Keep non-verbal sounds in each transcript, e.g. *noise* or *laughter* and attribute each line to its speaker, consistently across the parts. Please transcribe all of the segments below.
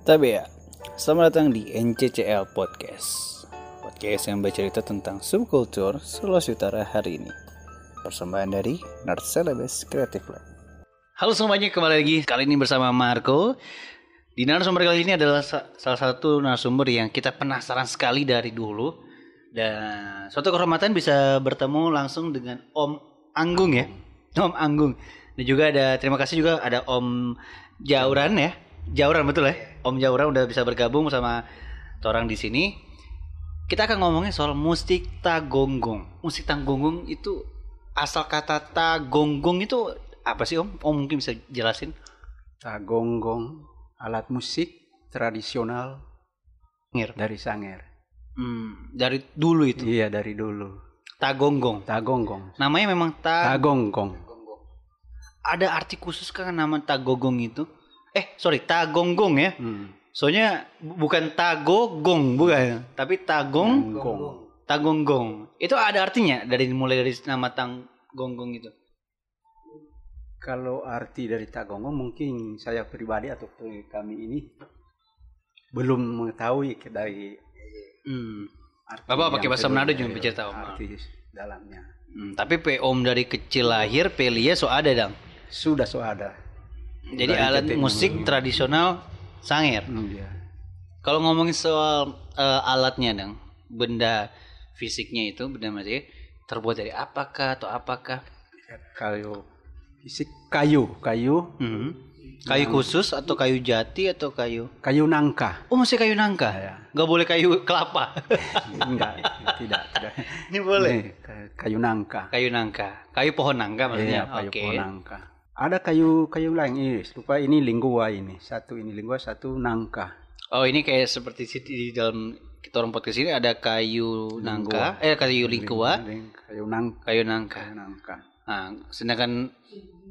Speaker 1: Tabea, ya, selamat datang di NCCL Podcast Podcast yang bercerita tentang subkultur Sulawesi Utara hari ini Persembahan dari Nerd Celebes Creative Lab Halo semuanya, kembali lagi kali ini bersama Marco Di narasumber kali ini adalah sa- salah satu narasumber yang kita penasaran sekali dari dulu Dan suatu kehormatan bisa bertemu langsung dengan Om Anggung ya Om Anggung Dan juga ada, terima kasih juga ada Om Jauran ya Jauran betul ya Om Jauran udah bisa bergabung sama orang di sini Kita akan ngomongin soal musik tagonggong Musik tagonggong itu asal kata tagonggong itu apa sih Om? Om mungkin bisa jelasin
Speaker 2: Tagonggong, alat musik tradisional
Speaker 1: Ngir.
Speaker 2: dari Sangir.
Speaker 1: Hmm, dari dulu itu
Speaker 2: Iya, dari dulu.
Speaker 1: tagonggong
Speaker 2: Tagonggong.
Speaker 1: Namanya memang ta
Speaker 2: Tagonggong.
Speaker 1: ada arti khusus kan nama tagogong itu? Eh sorry tagonggong ya
Speaker 2: Hmm.
Speaker 1: Soalnya bu- bukan tagogong bukan Tapi tagong
Speaker 2: Gonggong.
Speaker 1: Tagonggong. Itu ada artinya dari mulai dari nama Tang Gonggong itu.
Speaker 2: Kalau arti dari tagonggong mungkin saya pribadi atau kami ini belum mengetahui ke- dari
Speaker 1: Hmm.
Speaker 2: arti
Speaker 1: Bapak
Speaker 2: yang
Speaker 1: pakai bahasa
Speaker 2: kedua
Speaker 1: Manado
Speaker 2: dari
Speaker 1: juga bisa tahu, Mak.
Speaker 2: Arti dalamnya.
Speaker 1: Hmm, tapi P.O.M dari kecil lahir Pelia so ada dang.
Speaker 2: Sudah so ada.
Speaker 1: Jadi
Speaker 2: Dari Hmm.
Speaker 1: alat
Speaker 2: ketimbangan.
Speaker 1: musik tradisional Sangir.
Speaker 2: Hmm, iya.
Speaker 1: Kalau ngomongin soal eh, alatnya dang, benda fisiknya itu benda material terbuat dari apakah atau apakah?
Speaker 2: Kayu fisik kayu, kayu,
Speaker 1: Hmm. Kayu khusus atau kayu jati atau kayu?
Speaker 2: kayu nangka.
Speaker 1: Oh masih kayu nangka?
Speaker 2: Ya.
Speaker 1: Gak boleh kayu *laughs* kelapa.
Speaker 2: Enggak, tidak, tidak.
Speaker 1: Ini boleh.
Speaker 2: *laughs* Ini, ka- kayu nangka.
Speaker 1: Kayu nangka, kayu pohon nangka maksudnya.
Speaker 2: Iya, kayu
Speaker 1: Oke.
Speaker 2: pohon nangka. Ada kayu-kayu lain ini, lupa ini lingua ini. Satu ini lingua, satu nangka.
Speaker 1: Oh ini kayak seperti sit- di dalam kita orang podcast ini ada kayu nangka, eh kayu lingkua,
Speaker 2: Ling- Kayu nangka.
Speaker 1: kayu nangka.
Speaker 2: kayu nangka.
Speaker 1: Nah, sedangkan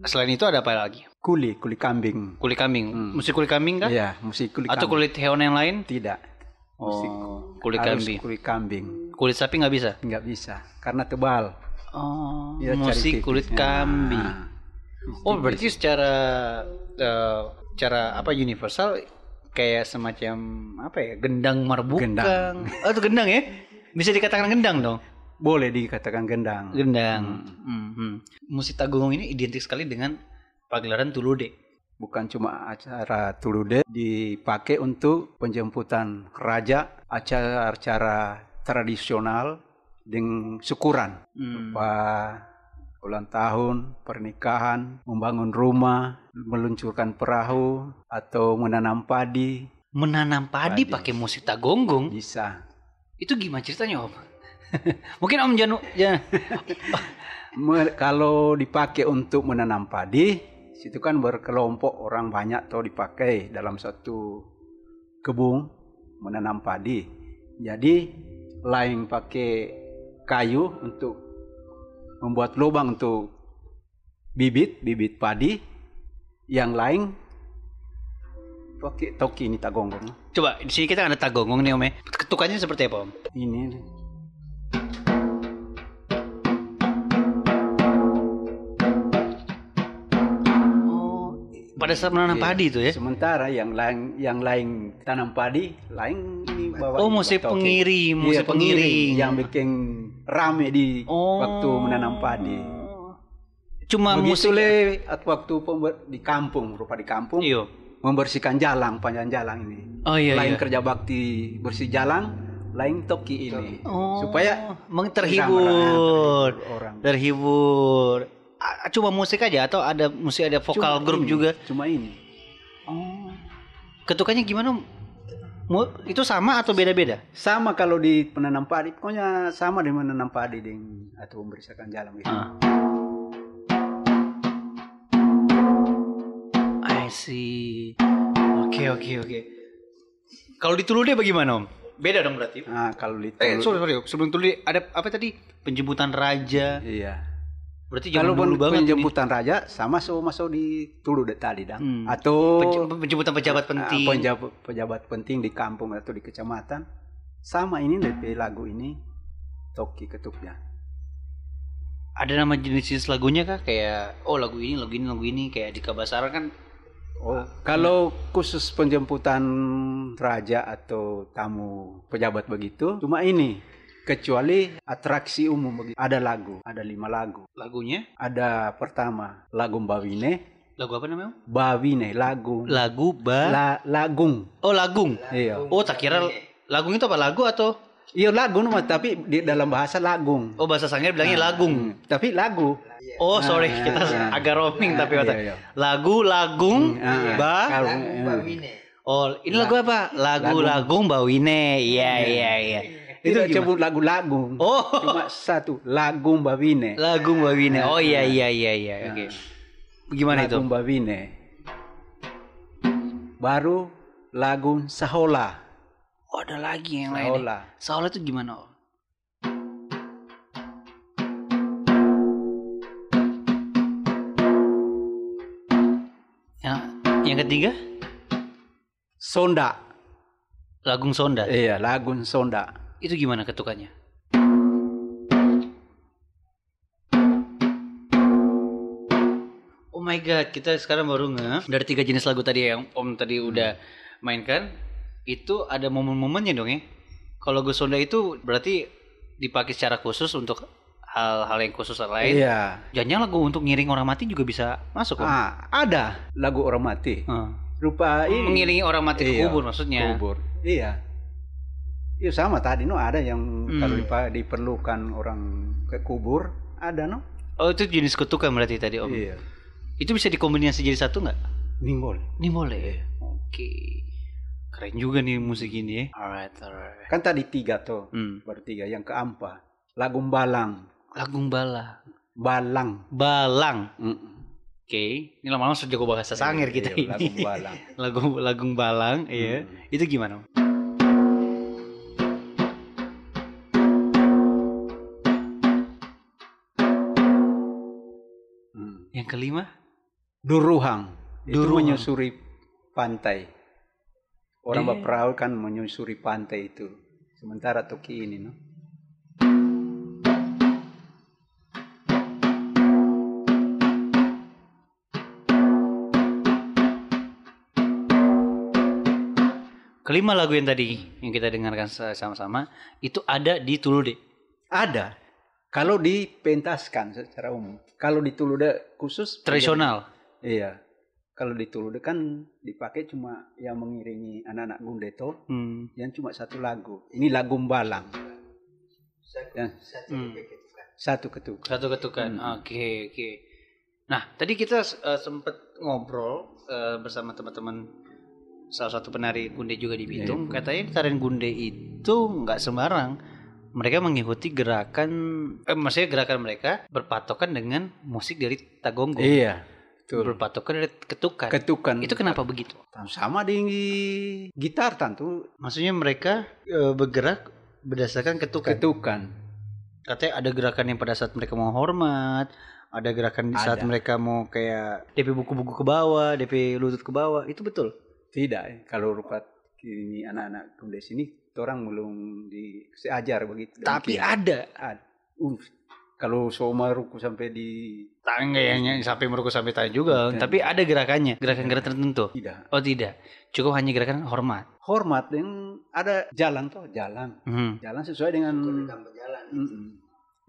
Speaker 1: selain itu ada apa lagi?
Speaker 2: Kuli, kuli kambing.
Speaker 1: Kulit kambing, musik kulit kambing kah?
Speaker 2: Hmm. Iya, musik kuli
Speaker 1: Atau
Speaker 2: kambing.
Speaker 1: kulit hewan yang lain?
Speaker 2: Tidak. Musik
Speaker 1: Oh, kulit
Speaker 2: harus
Speaker 1: kambing.
Speaker 2: kuli kambing.
Speaker 1: Kulit sapi nggak bisa.
Speaker 2: Enggak bisa, karena tebal.
Speaker 1: Oh,
Speaker 2: Dia Iya, cari
Speaker 1: musik kulit
Speaker 2: tipisnya.
Speaker 1: kambing.
Speaker 2: Nah,
Speaker 1: Oh, berarti secara eh, cara apa universal kayak semacam apa ya? Gendang marbukang.
Speaker 2: Gendang.
Speaker 1: Oh, itu gendang ya? Bisa dikatakan gendang dong.
Speaker 2: boleh dikatakan gendang.
Speaker 1: Gendang. Hmm, hmm. Musik Tagungong ini identik sekali dengan pagelaran Tulude.
Speaker 2: Bukan cuma acara tulude dipakai untuk penjemputan raja, acara-acara tradisional dengan syukuran,
Speaker 1: Hmm.
Speaker 2: Pa- ulang tahun, pernikahan, membangun rumah, meluncurkan perahu atau menanam padi
Speaker 1: Menanam padi
Speaker 2: Padi.
Speaker 1: pakai musik Tagonggong
Speaker 2: bisa.
Speaker 1: itu gimana ceritanya Om? *laughs* Mungkin Om Janu ya.
Speaker 2: Me- kalau dipakai untuk menanam padi, situ kan berkelompok orang banyak tuh dipakai dalam satu kebun menanam padi. Jadi lain pakai kayu untuk membuat lubang untuk bibit bibit padi, yang lain pakai toki ini tagonggong.
Speaker 1: Coba di sini kita ada Tagonggong nih Om ya. Ketukannya seperti apa Om?
Speaker 2: Ini
Speaker 1: Oh, pada saat menanam
Speaker 2: Iya.
Speaker 1: padi itu ya.
Speaker 2: sementara yang lain yang lain tanam padi, lain ini bawa
Speaker 1: Oh,
Speaker 2: ini
Speaker 1: musik
Speaker 2: buat toki.
Speaker 1: pengiring, musik
Speaker 2: Iya,
Speaker 1: pengiring.
Speaker 2: yang bikin rame di
Speaker 1: Oh.
Speaker 2: waktu menanam padi.
Speaker 1: Cuma
Speaker 2: Begitu
Speaker 1: musik ya?
Speaker 2: le at- waktu pember- di kampung, rupa di kampung,
Speaker 1: Iya.
Speaker 2: membersihkan jalan, panjang jalan ini.
Speaker 1: Oh iya
Speaker 2: lain
Speaker 1: iya.
Speaker 2: kerja bakti bersih jalan, lain toki ini.
Speaker 1: Oh,
Speaker 2: Supaya
Speaker 1: meng-
Speaker 2: terhibur
Speaker 1: terhibur.
Speaker 2: orang.
Speaker 1: Terhibur. Ah, Cuma musik aja atau ada musik ada vokal
Speaker 2: Cuma
Speaker 1: grup
Speaker 2: ini,
Speaker 1: juga?
Speaker 2: Cuma ini.
Speaker 1: Oh. Ketukannya gimana? Om? Mu- Itu sama atau beda-beda?
Speaker 2: Sama kalau di penanam padi, pokoknya sama dengan menanam padi dengan atau membersihkan jalan gitu.
Speaker 1: Ah. I see. Oke, oke, oke. Kalau di Tulude bagaimana, Om? Beda dong berarti.
Speaker 2: Nah, kalau di
Speaker 1: Eh, sorry, sorry. Sebelum Tulude ada apa tadi? Penjemputan raja.
Speaker 2: Iya.
Speaker 1: Berarti
Speaker 2: Kalau
Speaker 1: zaman dulu
Speaker 2: pen-
Speaker 1: banget ini.
Speaker 2: penjemputan raja sama so masuk di tulu de tadi dang.
Speaker 1: Hmm.
Speaker 2: Atau
Speaker 1: Penje- penjemputan pejabat
Speaker 2: ah,
Speaker 1: penting.
Speaker 2: penjabat, pejabat penting di kampung atau di kecamatan sama ini dari lagu ini toki ketuknya.
Speaker 1: ada nama jenis-jenis lagunya kah? Kayak oh lagu ini, lagu ini, lagu ini kayak di Kabasara kan
Speaker 2: Oh, kalau khusus penjemputan raja atau tamu pejabat begitu, cuma ini. Kecuali atraksi umum begitu. Ada lagu, ada lima lagu.
Speaker 1: Lagunya?
Speaker 2: Ada pertama, lagu Bawine.
Speaker 1: Lagu apa namanya? Om?
Speaker 2: Bawine, lagu.
Speaker 1: Lagu ba...
Speaker 2: La- lagung.
Speaker 1: oh, lagung.
Speaker 2: Iya.
Speaker 1: Oh, tak kira lagung itu apa? Lagu atau...
Speaker 2: Iya lagu nama, tapi di dalam bahasa lagung.
Speaker 1: Oh, bahasa Sangir bilangnya lagung.
Speaker 2: Hmm, Tapi lagu.
Speaker 1: Oh, sorry.
Speaker 2: Nah,
Speaker 1: Kita
Speaker 2: nah.
Speaker 1: agak roaming tapi
Speaker 2: Iya,
Speaker 1: otak.
Speaker 2: iya.
Speaker 1: Lagu, lagung,
Speaker 2: Hmm, ah,
Speaker 1: ba...
Speaker 2: kalung, eh.
Speaker 1: Oh, ini lagu apa? Lagu lagung Bawine. Iya, iya, iya.
Speaker 2: Itu disebut lagu lagung.
Speaker 1: Oh, *laughs*
Speaker 2: Cuma satu, lagu Bawine.
Speaker 1: lagu Bawine. Oh iya iya iya iya. Oke. Gimana itu?
Speaker 2: Nah. Lagu Bawine. Baru lagu Sahola.
Speaker 1: Oh, ada lagi yang lain.
Speaker 2: Sahola.
Speaker 1: Saola itu gimana? Om? Yang, yang ketiga,
Speaker 2: Sonda.
Speaker 1: lagung sonda.
Speaker 2: Iya, lagu Sonda.
Speaker 1: Itu gimana ketukannya? Oh my god, kita sekarang baru nge dari tiga jenis lagu tadi yang Om tadi
Speaker 2: Hmm.
Speaker 1: udah mainkan, itu ada momen-momennya dong ya. Kalau lagu sonda itu berarti dipakai secara khusus untuk hal-hal yang khusus yang lain.
Speaker 2: Iya.
Speaker 1: Jangan lagu untuk ngiring orang mati juga bisa masuk Om.
Speaker 2: Ah, ada lagu orang mati.
Speaker 1: Eh,
Speaker 2: Rupa ini.
Speaker 1: Mengiringi orang mati ke
Speaker 2: Iya,
Speaker 1: kubur maksudnya.
Speaker 2: kubur. Iya. Iya sama tadi no ada yang
Speaker 1: Hmm.
Speaker 2: kalau dipa- diperlukan orang ke kubur ada no.
Speaker 1: Oh itu jenis ketukan berarti tadi Om.
Speaker 2: Iya.
Speaker 1: Itu bisa dikombinasi jadi satu nggak?
Speaker 2: Nimbol.
Speaker 1: Ini boleh. Oke. Keren juga nih musik ini ya. Alright, alright.
Speaker 2: Kan tadi tiga tuh.
Speaker 1: Hmm.
Speaker 2: Baru tiga. Yang keempat lagu balang.
Speaker 1: Lagung Bala.
Speaker 2: Balang.
Speaker 1: Balang.
Speaker 2: Mm-mm.
Speaker 1: Oke. Ini lama-lama sudah jago bahasa sangir kita
Speaker 2: Iya, Lagu
Speaker 1: *laughs* ini.
Speaker 2: balang.
Speaker 1: Lagung Lagung Balang, iya.
Speaker 2: Hmm.
Speaker 1: Itu gimana?
Speaker 2: Mm.
Speaker 1: Yang kelima?
Speaker 2: Duruhang. Itu
Speaker 1: Duruhang.
Speaker 2: menyusuri pantai. Orang
Speaker 1: Eh.
Speaker 2: berperahu kan menyusuri pantai itu. Sementara Toki ini no.
Speaker 1: Kelima lagu yang tadi yang kita dengarkan se- sama-sama itu ada di Tulude.
Speaker 2: Ada. Kalau dipentaskan secara umum. Kalau di Tulude khusus
Speaker 1: Tradisional.
Speaker 2: Iya. Kalau di Tulude kan dipakai cuma yang mengiringi anak-anak gundeto
Speaker 1: Hmm.
Speaker 2: yang cuma satu lagu. Ini lagu Mbalang. Yang
Speaker 1: Hmm.
Speaker 2: satu ketukan.
Speaker 1: Satu ketukan.
Speaker 2: Hmm.
Speaker 1: Oke, oke. Nah, tadi kita sempat ngobrol eh, bersama teman-teman salah satu penari gunde juga di
Speaker 2: Iya,
Speaker 1: Bitung. Katanya tarian gunde itu nggak sembarang. Mereka mengikuti gerakan, eh, maksudnya gerakan mereka berpatokan dengan musik dari tagonggo,
Speaker 2: Iya. Betul.
Speaker 1: berpatokan dari ketukan.
Speaker 2: Ketukan.
Speaker 1: Itu kenapa begitu?
Speaker 2: sama di gitar tentu
Speaker 1: Maksudnya mereka eh, bergerak berdasarkan ketukan.
Speaker 2: ketukan.
Speaker 1: katanya ada gerakan yang pada saat mereka mau hormat ada gerakan di saat
Speaker 2: Ada.
Speaker 1: mereka mau kayak DP buku-buku ke bawah, DP lutut ke bawah, itu betul.
Speaker 2: Tidak, eh. kalau rupa ini anak-anak kuliah sini, orang belum di seajar begitu.
Speaker 1: Tapi
Speaker 2: Demikian.
Speaker 1: ada
Speaker 2: Ad- Uf, kalau semua ruku sampai di
Speaker 1: tangga yang sampai merokok sampai tanya juga,
Speaker 2: Bukan.
Speaker 1: tapi ada gerakannya, gerakan-gerakan tertentu.
Speaker 2: tidak
Speaker 1: Oh tidak, cukup hanya gerakan hormat.
Speaker 2: hormat yang ada jalan toh jalan,
Speaker 1: Mhm.
Speaker 2: jalan sesuai dengan Mm-mm.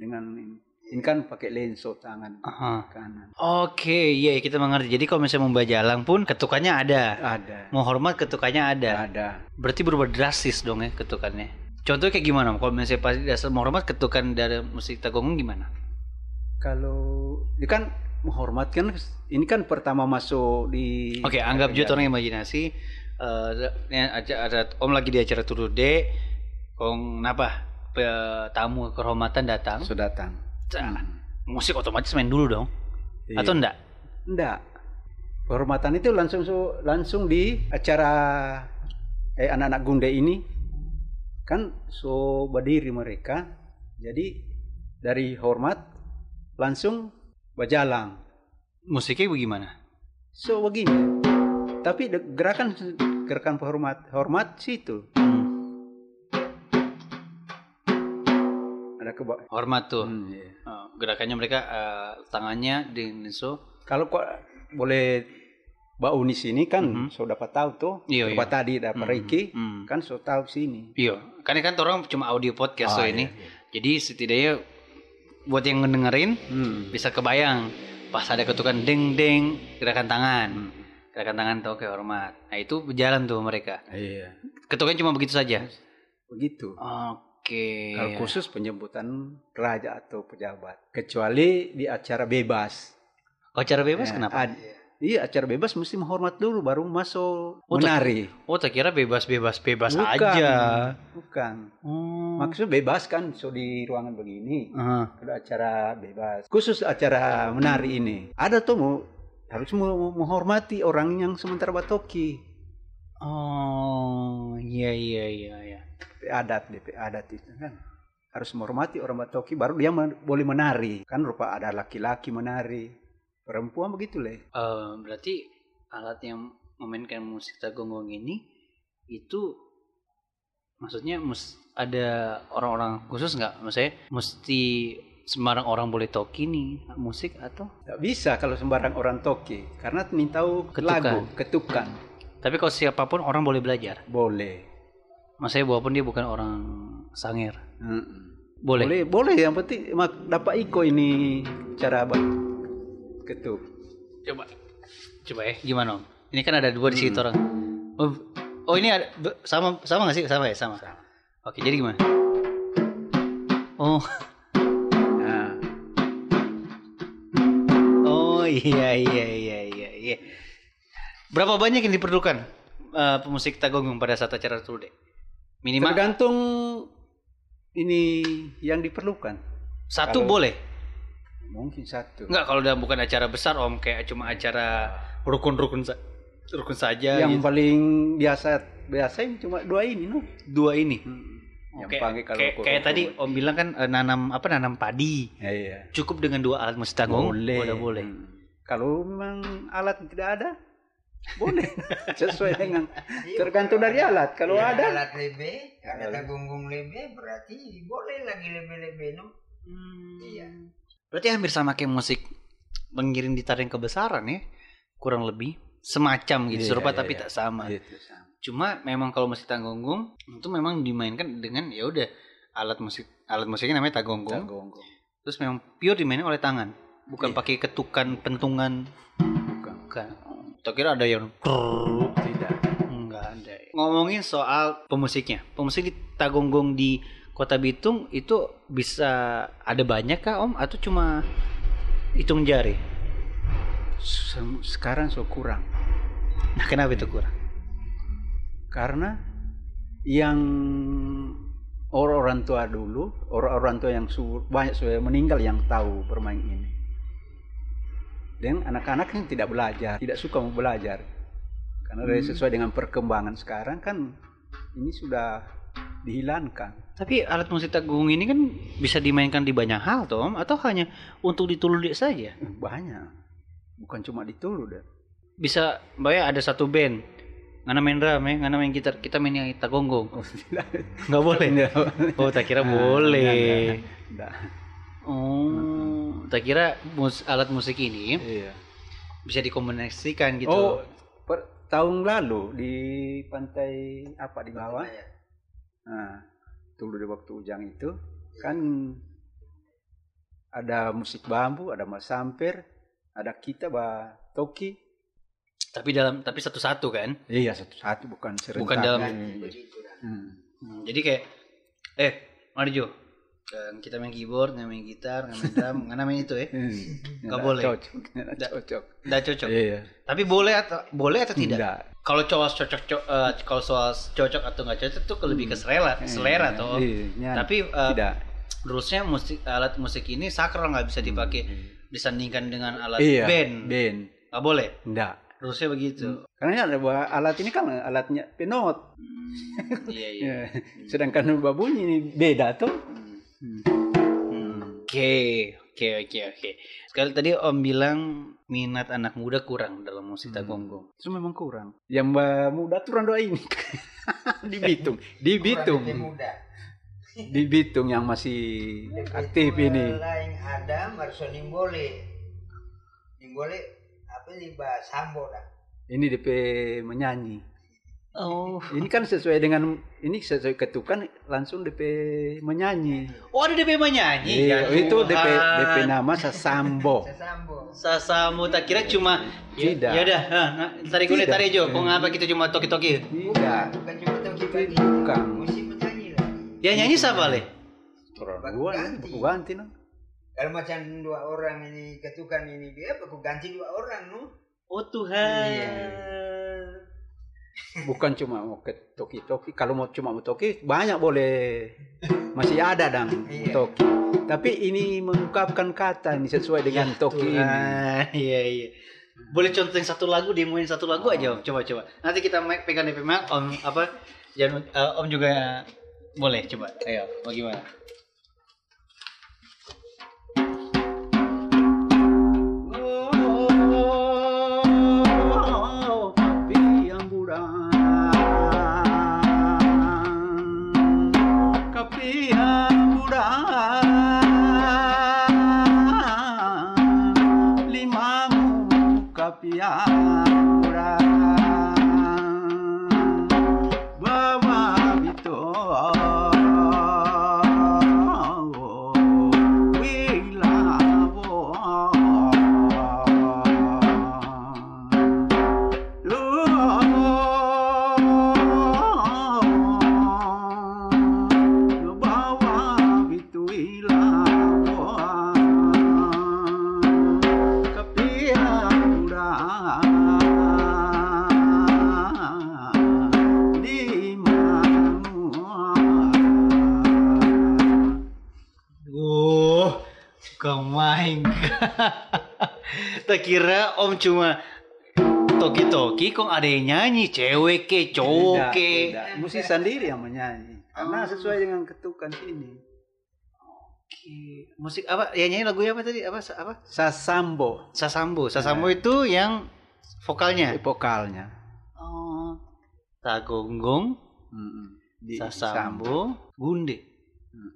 Speaker 2: dengan ini. Ini kan pakai lenso tangan
Speaker 1: Aha.
Speaker 2: kanan
Speaker 1: Oke, iya kita mengerti. Jadi kalau misalnya membaca jalang pun ketukannya ada,
Speaker 2: ada
Speaker 1: mau hormat ketukannya
Speaker 2: Iya.
Speaker 1: ada.
Speaker 2: ada
Speaker 1: Berarti berubah drastis dong ya ketukannya. Contohnya kayak gimana? Om? Kalau misalnya pas di dasar mau hormat ketukan dari musik tagong gimana?
Speaker 2: kalau ini kan menghormatkan ini kan pertama masuk di
Speaker 1: Oke, anggap juga orang imajinasi. eh, ini ada, ada Om lagi di acara Turu D. Om kenapa? Pe- Tamu kehormatan datang.
Speaker 2: sudah datang
Speaker 1: Cah, Musik otomatis main dulu dong. Atau enggak?
Speaker 2: Iya. Enggak. Kehormatan itu langsung su- langsung di acara eh anak-anak gunde ini kan so berdiri mereka. Jadi dari hormat langsung berjalan.
Speaker 1: Musiknya bagaimana?
Speaker 2: So begini. Tapi de- gerakan gerakan penghormat hormat situ
Speaker 1: Hmm,
Speaker 2: ada keba.
Speaker 1: Hormat tuh.
Speaker 2: Hmm, iya.
Speaker 1: Eh, gerakannya mereka eh, tangannya di so
Speaker 2: Kalau kok boleh Mbak Unis ini
Speaker 1: Mhm.
Speaker 2: kan so dapat tahu tuh,
Speaker 1: Iya,
Speaker 2: dapat
Speaker 1: iya.
Speaker 2: tadi dapat
Speaker 1: Mhm,
Speaker 2: Ricky,
Speaker 1: mhm.
Speaker 2: kan so tahu sini.
Speaker 1: Iya, karena kan orang cuma audio podcast so
Speaker 2: Ah,
Speaker 1: ini.
Speaker 2: iya, iya.
Speaker 1: Jadi setidaknya buat yang ngedengerin
Speaker 2: Hmm.
Speaker 1: bisa kebayang pas ada ketukan deng deng gerakan tangan.
Speaker 2: Hmm.
Speaker 1: Gerakan tangan tuh kayak hormat. Nah, itu berjalan tuh mereka.
Speaker 2: Iya,
Speaker 1: Ketukan cuma begitu saja.
Speaker 2: begitu.
Speaker 1: Oke.
Speaker 2: Kalau khusus penjemputan raja atau pejabat, kecuali di acara bebas.
Speaker 1: Oh, cara bebas
Speaker 2: Ya,
Speaker 1: kenapa?
Speaker 2: ad- Iya, acara bebas mesti menghormat dulu baru masuk
Speaker 1: Oh, tak-
Speaker 2: menari.
Speaker 1: Oh, tak kira bebas-bebas bebas
Speaker 2: Bukan.
Speaker 1: aja.
Speaker 2: Bukan.
Speaker 1: Hmm.
Speaker 2: Maksud bebas kan so di ruangan begini.
Speaker 1: Ah.
Speaker 2: Ada acara bebas. Khusus acara menari ini. Ada tuh mau harus mau menghormati orang yang sementara batoki.
Speaker 1: Oh, iya iya iya iya.
Speaker 2: DP adat, DP adat itu kan harus menghormati orang batoki baru dia men- boleh menari. Kan rupa ada laki-laki menari. Perempuan begitu leh.
Speaker 1: Eh, berarti alat yang memainkan musik tagonggong ini itu maksudnya mus- ada orang-orang khusus nggak? Maksudnya mesti sembarang orang boleh toki nih musik atau?
Speaker 2: Tak bisa kalau sembarang orang toki karena ini tahu
Speaker 1: Ketukan.
Speaker 2: lagu, ketukan.
Speaker 1: Tapi kalau siapapun orang boleh belajar.
Speaker 2: Boleh.
Speaker 1: Maksudnya walaupun dia bukan orang sangir.
Speaker 2: Mm-mm.
Speaker 1: Boleh.
Speaker 2: Boleh, boleh. Yang penting mak, dapat iko ini cara apa? Ketuk.
Speaker 1: Coba. Coba ya, gimana Om? Ini kan ada dua di situ orang. Oh, oh, ini ada, be- sama sama nggak sih? Sama ya, sama.
Speaker 2: Sama.
Speaker 1: Oke, jadi gimana? Oh, *laughs*
Speaker 2: Nah,
Speaker 1: oh iya iya iya iya iya. Berapa banyak yang diperlukan eh, pemusik tagonggung pada saat acara Tulde? Minimal
Speaker 2: tergantung ini yang diperlukan.
Speaker 1: satu
Speaker 2: kalau-
Speaker 1: boleh.
Speaker 2: Mungkin satu.
Speaker 1: Enggak kalau udah bukan acara besar Om, kayak cuma acara rukun-rukun sa- rukun saja
Speaker 2: yang
Speaker 1: gitu.
Speaker 2: paling biasa biasanya cuma dua ini, no?
Speaker 1: dua ini.
Speaker 2: Yang
Speaker 1: Oh, Kayak-
Speaker 2: panggil kalau
Speaker 1: kayak,
Speaker 2: ukur-
Speaker 1: kayak tadi
Speaker 2: ukur.
Speaker 1: Om bilang kan eh, nanam apa nanam padi.
Speaker 2: Ya, iya.
Speaker 1: cukup dengan dua alat musik tanggung udah boleh
Speaker 2: Hmm. Kalau memang alat tidak ada,
Speaker 1: *laughs*
Speaker 2: boleh. Sesuai dengan tergantung dari alat. Kalau
Speaker 3: Iya,
Speaker 2: ada,
Speaker 3: alat lebe, ada
Speaker 2: Alat.
Speaker 3: tanggung lebe berarti boleh lagi lebe-lebe no. Iya.
Speaker 1: berarti hampir sama kayak musik mengiring di tarian kebesaran ya kurang lebih semacam gitu
Speaker 2: Iya,
Speaker 1: serupa
Speaker 2: iya,
Speaker 1: tapi
Speaker 2: iya.
Speaker 1: tak sama
Speaker 2: Gitu, sama.
Speaker 1: cuma memang kalau musik tanggung itu memang dimainkan dengan ya udah alat musik alat musiknya namanya tagonggong
Speaker 2: Gonggong.
Speaker 1: terus memang pure dimainin oleh tangan bukan
Speaker 2: Iya.
Speaker 1: pakai ketukan pentungan
Speaker 2: Bukan.
Speaker 1: bukan tak kira ada yang
Speaker 2: Tidak.
Speaker 1: Enggak ada. ya. Ngomongin soal pemusiknya. Pemusik di Tagonggong di Kota Bitung itu bisa ada banyak kah Om atau cuma hitung jari?
Speaker 2: Sem- Sekarang so kurang.
Speaker 1: Nah, kenapa itu kurang?
Speaker 2: karena yang orang-orang tua dulu, orang-orang tua yang su- banyak sudah meninggal yang tahu bermain ini. Dan anak-anak yang tidak belajar, tidak suka mau belajar. Karena dari sesuai dengan perkembangan sekarang kan ini sudah dihilangkan.
Speaker 1: Tapi alat musik Tagonggong ini kan bisa dimainkan di banyak hal toh Om atau hanya untuk ditululik saja?
Speaker 2: Eh, Banyak. Bukan cuma di Tulu deh.
Speaker 1: Bisa bayar ada satu band ngana main drum ya, ngana main gitar, kita main yang *laughs* Tagonggong.
Speaker 2: Oh, tidak.
Speaker 1: Enggak boleh.
Speaker 2: *laughs* Tidak.
Speaker 1: Oh, tak kira
Speaker 2: Ah,
Speaker 1: boleh.
Speaker 2: tidak, tidak.
Speaker 1: Oh, tak kira mus- alat musik ini
Speaker 2: Iya.
Speaker 1: bisa dikombinasikan gitu.
Speaker 2: Oh, per- tahun lalu di pantai apa di bawah? Nah, dulu di waktu Ujang itu kan ada musik bambu, ada mas sampir, ada kita bah toki.
Speaker 1: Tapi dalam tapi satu-satu kan.
Speaker 2: Iya satu-satu bukan serentak. Iya.
Speaker 1: Bukan dalam-
Speaker 2: Hmm.
Speaker 1: Hmm, jadi kayak eh mari Jo. Eh, kita main keyboard, nggak main gitar, nggak main drum, nggak main itu ya.
Speaker 2: Hmm. Nggak
Speaker 1: boleh.
Speaker 2: Cocok. nggak
Speaker 1: Nggak.
Speaker 2: cocok.
Speaker 1: Nggak cocok.
Speaker 2: Iya.
Speaker 1: Tapi boleh atau boleh atau tidak?
Speaker 2: Nggak.
Speaker 1: Kalau cowok cocok co- eh, kalau soal cocok atau nggak cocok tuh lebih ke selera, selera
Speaker 2: Iya,
Speaker 1: toh.
Speaker 2: iya, nyan.
Speaker 1: Tapi eh,
Speaker 2: tidak.
Speaker 1: rulesnya musik alat musik ini sakral nggak bisa eh, dipakai disandingkan dengan alat
Speaker 2: Hmm. Iya.
Speaker 1: band.
Speaker 2: Band.
Speaker 1: Nggak boleh.
Speaker 2: Nggak.
Speaker 1: Rulesnya begitu.
Speaker 2: Karena ini ada buah alat ini kan alatnya penot.
Speaker 1: Iya iya.
Speaker 2: Ya.
Speaker 1: Hmm.
Speaker 2: *laughs* Sedangkan buah bunyi ini beda tuh.
Speaker 1: Oke, oke, oke, oke. Sekali tadi Om bilang minat anak muda kurang dalam
Speaker 2: Hmm.
Speaker 1: musik tagonggong.
Speaker 2: Itu memang kurang. Yang mbak muda tuh orang doain. *laughs* di Bitung, di Bitung,
Speaker 3: Orang muda.
Speaker 2: di Bitung yang masih aktif
Speaker 3: Itu
Speaker 2: ini.
Speaker 3: Lain ada Marso Nimbole. Nimbole apa sih bahasa Sambo dah.
Speaker 2: Ini DP menyanyi.
Speaker 1: Oh.
Speaker 2: Ini kan sesuai dengan ini sesuai ketukan langsung DP menyanyi.
Speaker 1: Oh ada DP menyanyi.
Speaker 2: Iya,
Speaker 1: Ya
Speaker 2: itu
Speaker 1: Tuhan.
Speaker 2: DP DP nama Sasambo.
Speaker 3: Sesambo.
Speaker 1: Sasamu tak kira cuma
Speaker 2: Tidak.
Speaker 1: Ya udah, ha, nah, tarik gue
Speaker 2: Tidak.
Speaker 1: tarik Jo. Kok ngapa kita cuma toki-toki?
Speaker 2: Tidak.
Speaker 3: Bukan cuma toki bagi.
Speaker 2: Bukan.
Speaker 3: Musik menyanyi lah.
Speaker 1: Ya nyanyi siapa le?
Speaker 2: Gua aku ganti no.
Speaker 3: Kalau macam dua orang ini ketukan ini dia, aku ganti dua orang nu.
Speaker 1: Oh Tuhan.
Speaker 2: Iya. Bukan cuma mau ke toki-toki. Kalau mau cuma mau toki banyak boleh. Masih ada dang
Speaker 3: Iya.
Speaker 2: toki. Tapi ini mengungkapkan kata ini sesuai dengan toki ini.
Speaker 1: Tuhan. Iya iya. Boleh contohin satu lagu, demoin satu lagu aja Om. Coba coba. Nanti kita mic pegang DP mic Om apa? Jangan eh, Om juga boleh coba. Ayo, bagaimana? Oh, kau main. *laughs* tak kira om cuma toki-toki kok ada yang nyanyi cewek ke cowok
Speaker 2: Tidak,
Speaker 1: ke
Speaker 2: tidak. Oh. Mesti sendiri yang menyanyi. Karena sesuai dengan ketukan ini.
Speaker 1: Oke. musik apa ya nyanyi lagunya apa tadi apa sa- apa
Speaker 2: Sasambo eh,
Speaker 1: sasambo sasambo itu yang vokalnya
Speaker 2: vokalnya.
Speaker 1: oh tagonggong
Speaker 2: Mm-mm. Di
Speaker 1: sasambo gunde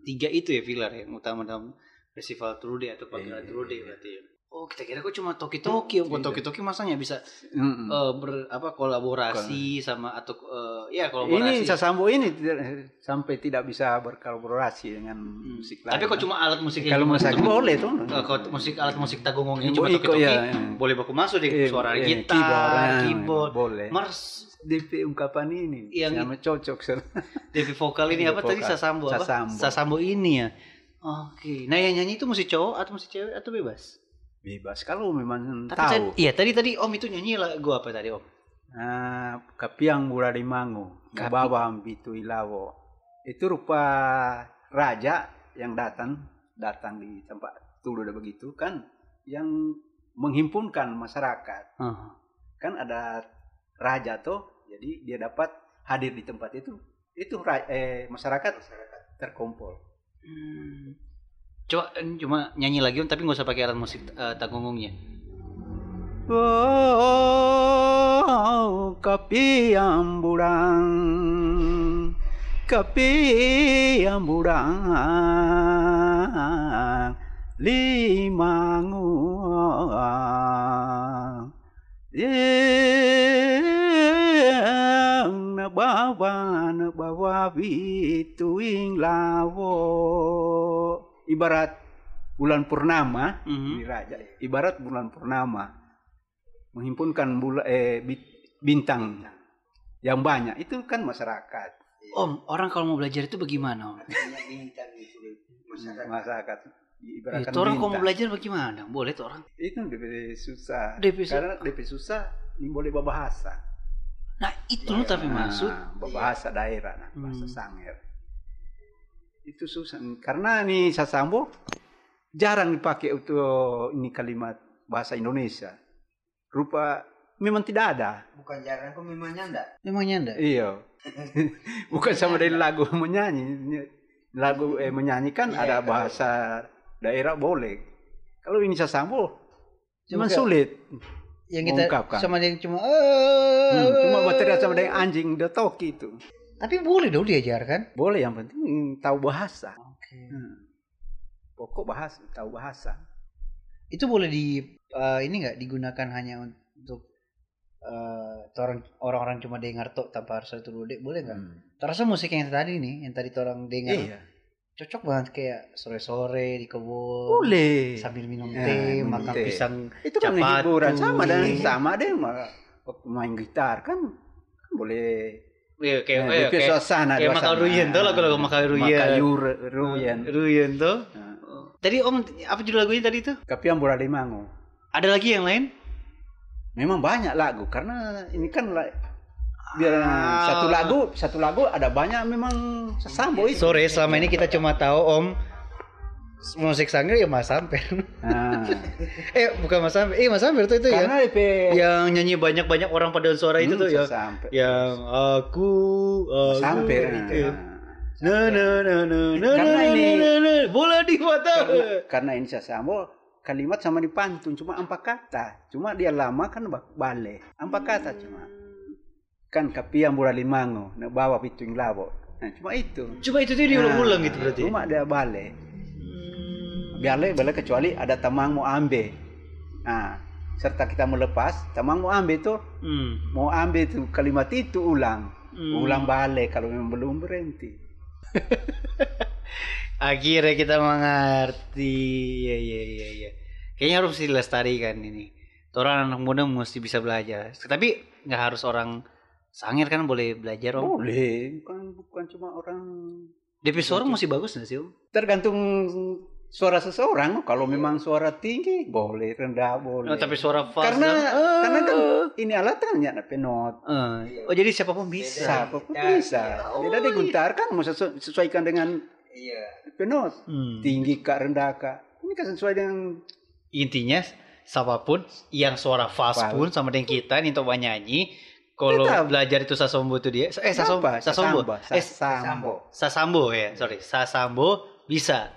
Speaker 1: tiga itu ya pilar yang utama dalam festival Trude atau pagelaran
Speaker 2: Iya,
Speaker 1: Trude
Speaker 2: iya.
Speaker 1: berarti ya. Oh kita kira kok cuma toki-toki, Iya. kok
Speaker 2: Tidak.
Speaker 1: toki-toki masanya bisa
Speaker 2: Mm-mm.
Speaker 1: eh, ber apa kolaborasi sama atau eh, ya kolaborasi.
Speaker 2: Ini Sasambo ini tidak- sampai tidak bisa berkolaborasi dengan
Speaker 1: Hmm.
Speaker 2: musik lain.
Speaker 1: Tapi kok cuma alat musik
Speaker 2: kalau musik boleh tuh.
Speaker 1: kalau musik alat musik tagongong ini cuma
Speaker 2: Boleh,
Speaker 1: toki-toki,
Speaker 2: iya, iya.
Speaker 1: boleh baku masuk deh
Speaker 2: Eh,
Speaker 1: suara
Speaker 2: eh,
Speaker 1: gitar,
Speaker 2: keyboard, eh,
Speaker 1: Iya, keyboard, iya,
Speaker 2: boleh.
Speaker 1: mars,
Speaker 2: DP ungkapan ini
Speaker 1: Yang-
Speaker 2: sama cocok sel-
Speaker 1: Devi Iya, vokal ini
Speaker 2: Devi
Speaker 1: apa tadi
Speaker 2: vokal.
Speaker 1: sasambo apa?
Speaker 2: Sasambo.
Speaker 1: ini ya. Oke. Nah yang nyanyi itu mesti cowok atau mesti cewek atau bebas?
Speaker 2: *laughs* bebas kalau memang
Speaker 1: Tapi
Speaker 2: tahu.
Speaker 1: tadi- Iya tadi tadi Om itu nyanyi lagu apa tadi Om?
Speaker 2: Ah, kapiang burarimangu,
Speaker 1: Kapi-
Speaker 2: bawa ambitu ilawo. Itu rupa raja yang datang datang di tempat dulu udah begitu kan yang menghimpunkan masyarakat.
Speaker 1: Heeh.
Speaker 2: Kan ada raja tuh, jadi dia dapat hadir di tempat itu. Itu ra- eh, masyarakat terkumpul.
Speaker 1: Hmm. Coba eh, cuma nyanyi lagi Om tapi nggak usah pakai alat musik eh, tanggungungnya.
Speaker 2: Oh, kapi amburan, kapi amburan, lima nguang, yang bawa na bawa bituing lawo. Ibarat bulan purnama,
Speaker 1: Mhm.
Speaker 2: ini raja ibarat bulan purnama menghimpunkan bula, eh, bi- bintang yang banyak itu kan masyarakat
Speaker 1: Om orang kalau mau belajar itu bagaimana Om?
Speaker 3: Banyak bintang itu masyarakat.
Speaker 2: masyarakat ibaratkan
Speaker 1: Itu orang kalau mau
Speaker 2: bintang.
Speaker 1: belajar bagaimana? Boleh tuh orang.
Speaker 2: itu DP susah
Speaker 1: DP susah.
Speaker 2: karena DP susah ini boleh berbahasa
Speaker 1: Nah itu loh tapi
Speaker 2: Nah,
Speaker 1: maksud.
Speaker 2: berbahasa daerah nah, bahasa
Speaker 1: Hmm.
Speaker 2: Sangir itu susah karena nih sasambo jarang dipakai untuk ini kalimat bahasa Indonesia rupa memang tidak ada
Speaker 3: Bukan jarang kok memangnya enggak.
Speaker 1: Memangnya anda?
Speaker 3: *laughs*
Speaker 2: Iya. Bukan sama dari lagu menyanyi. Lagu eh, menyanyikan
Speaker 3: Iya,
Speaker 2: ada
Speaker 3: kalau-
Speaker 2: bahasa daerah boleh. Kalau ini Sasambo cuman
Speaker 1: Juga
Speaker 2: sulit.
Speaker 1: Yang
Speaker 2: mengungkapkan.
Speaker 1: sama yang cuma "Eh,
Speaker 2: Hmm, cuma berteriak sama
Speaker 3: Eh.
Speaker 2: dengan anjing the talkie itu.
Speaker 1: Tapi boleh dong diajarkan.
Speaker 2: Boleh yang penting hmm, tahu bahasa.
Speaker 1: Oke.
Speaker 2: Hmm. Pokok bahasa, tahu bahasa.
Speaker 1: Itu boleh di eh, ini nggak digunakan hanya untuk eh, torang- orang-orang cuma dengar tok tanpa harus satu dua dek boleh nggak?
Speaker 3: Hmm.
Speaker 1: Terasa musik yang tadi nih, yang tadi orang dengar
Speaker 3: Ya.
Speaker 2: Iya.
Speaker 1: cocok banget kayak sore-sore di kebun
Speaker 2: Boleh.
Speaker 1: sambil minum
Speaker 2: Ya,
Speaker 1: teh,
Speaker 2: Oh, iya. minum
Speaker 1: makan
Speaker 2: teh.
Speaker 1: pisang.
Speaker 2: itu kan
Speaker 1: Capatu.
Speaker 2: hiburan sama dan
Speaker 1: Iya.
Speaker 2: sama deh ma- main gitar kan, kan boleh
Speaker 1: Iya, kayak
Speaker 2: Nah,
Speaker 1: eh,
Speaker 2: bikin
Speaker 1: kayak
Speaker 2: suasana
Speaker 1: kayak
Speaker 2: suasana.
Speaker 1: Makau Ruyen tuh lagu-lagu Makau Ruyen.
Speaker 2: Makau Yur- Ruyen.
Speaker 1: Ruyen tuh.
Speaker 2: Nah,
Speaker 1: Tadi Om apa judul lagunya tadi tuh?
Speaker 2: Tapi yang Bora Limango.
Speaker 1: Ada lagi yang lain?
Speaker 2: Memang banyak lagu karena ini kan la- biar
Speaker 1: Ah.
Speaker 2: satu lagu satu lagu ada banyak memang sesambo itu.
Speaker 1: Sore selama ini kita cuma tahu Om musik sanggar ya Mas Samper.
Speaker 2: Nah,
Speaker 1: *laughs* eh bukan Mas Samper. Eh Mas Samper tuh itu ya.
Speaker 2: karena Hmm, IP
Speaker 1: yang nyanyi banyak-banyak orang pada suara itu tuh ya
Speaker 2: sampai
Speaker 1: yang aku aku
Speaker 2: sampai
Speaker 1: gitu ya.
Speaker 2: nah.
Speaker 1: na na na na na
Speaker 2: Karena
Speaker 1: na na
Speaker 2: ini-
Speaker 1: na na bola di mata *laughs*
Speaker 2: karena, karena ini Sasamo kalimat sama di pantun cuma empat kata cuma dia lama kan ba- balik empat kata cuma kan kapi yang buralimango nak bawa pitung labo nah, cuma itu
Speaker 1: coba itu tuh diulang-ulang
Speaker 2: Nah,
Speaker 1: gitu berarti
Speaker 2: cuma dia balik balik balik kecuali ada tamang mau ambil nah serta kita melepas tamang mau ambil itu
Speaker 1: hmm.
Speaker 2: mau ambil itu kalimat itu ulang
Speaker 1: Hmm.
Speaker 2: ulang balik kalau memang belum berhenti
Speaker 1: akhirnya kita mengerti ya ya ya ya kayaknya harus dilestarikan ini orang anak muda mesti bisa belajar tapi nggak harus orang sangir kan boleh belajar om
Speaker 2: Oh. boleh bukan bukan cuma orang
Speaker 1: DP suara mesti bagus nggak sih om
Speaker 2: tergantung suara seseorang kalau memang suara tinggi boleh rendah boleh
Speaker 1: Oh, tapi suara fast
Speaker 2: karena
Speaker 1: dan-
Speaker 2: karena kan ini alatannya apa not
Speaker 1: Eh, oh jadi siapapun bisa.
Speaker 2: siapa pun
Speaker 3: Beda.
Speaker 2: bisa
Speaker 1: Oh,
Speaker 2: tidak diguntarkan mau kan? sesu- sesuaikan dengan
Speaker 3: Iya.
Speaker 2: penot
Speaker 1: Hmm.
Speaker 2: tinggi kak rendah kak ini kan sesuai dengan
Speaker 1: Intinya siapapun yang suara fast
Speaker 2: Fast.
Speaker 1: pun sama dengan kita nih untuk nyanyi kalau
Speaker 2: Tetap.
Speaker 1: belajar itu sasombo itu dia eh sasom,
Speaker 2: apa?
Speaker 1: sasombo
Speaker 2: Sasambo.
Speaker 1: eh
Speaker 2: Sasambo.
Speaker 1: sasambo ya sorry sasambo bisa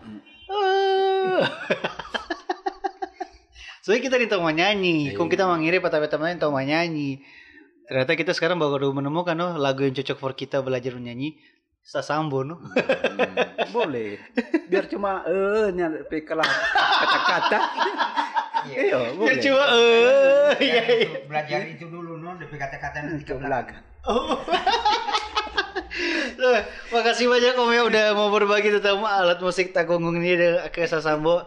Speaker 1: Eh. *laughs* soalnya kita nih tahu mau nyanyi kok kita mengirim patah teman tahu mau nyanyi ternyata kita sekarang baru menemukan oh lagu yang cocok for kita belajar menyanyi sasambo no Hmm.
Speaker 2: *laughs* boleh biar cuma eh nya pe kelar
Speaker 1: *laughs*
Speaker 2: kata-kata iya
Speaker 1: Ya *laughs*
Speaker 2: boleh
Speaker 1: coba eh
Speaker 2: *laughs*
Speaker 1: iya,
Speaker 3: Belajar
Speaker 1: iya.
Speaker 3: itu- Belajar itu dulu non lebih kata-kata nanti ke belakang.
Speaker 1: Oh. Eh, Makasih banyak Om ya udah mau berbagi tentang alat musik takunggung ini dengan ke Sasambo.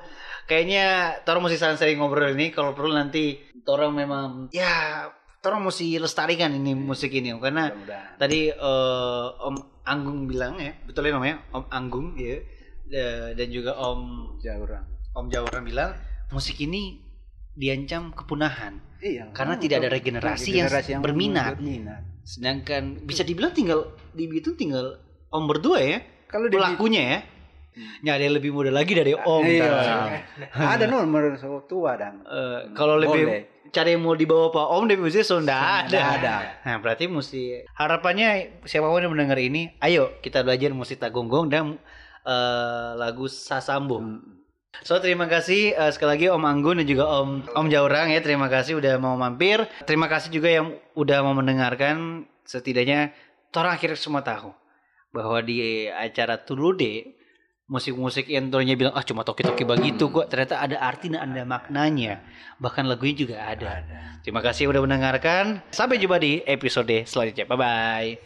Speaker 1: Kayaknya Torong mesti sering ngobrol ini kalau perlu nanti Torong memang ya Torong mesti lestarikan ini musik ini Om karena
Speaker 2: Mudah-mudahan.
Speaker 1: tadi eh, Om Anggung bilang ya, betulin Om ya, Om Anggung ya. Eh, dan juga Om
Speaker 2: jauh orang
Speaker 1: Om Jawaran bilang musik ini diancam kepunahan.
Speaker 2: iya
Speaker 1: Karena tidak ada regenerasi yang berminat.
Speaker 2: berminat.
Speaker 1: Sedangkan bisa dibilang tinggal di Bitung tinggal Om berdua ya,
Speaker 2: kalau di
Speaker 1: pelakunya ya. Nggak ada yang lebih muda lagi dari Om.
Speaker 2: Hmm. Iya.
Speaker 1: Tara.
Speaker 2: ada nomor tua dan
Speaker 1: Eh, kalau lebih
Speaker 2: Boleh.
Speaker 1: cara yang mau dibawa Pak Om dari musik so nggak ada.
Speaker 2: Nggak ada.
Speaker 1: Nah berarti mesti harapannya siapapun yang mendengar ini, ayo kita belajar musik tagonggong dan eh, lagu sasambo. So terima kasih eh, sekali lagi Om Anggun dan juga Om Om Jaurang ya terima kasih udah mau mampir. Terima kasih juga yang udah mau mendengarkan setidaknya orang akhirnya semua tahu bahwa di acara Tulude musik-musik yang tadinya bilang ah cuma toki-toki begitu kok ternyata ada arti dan ada maknanya bahkan lagunya juga ada. Terima kasih udah mendengarkan. Sampai jumpa di episode selanjutnya. Bye bye.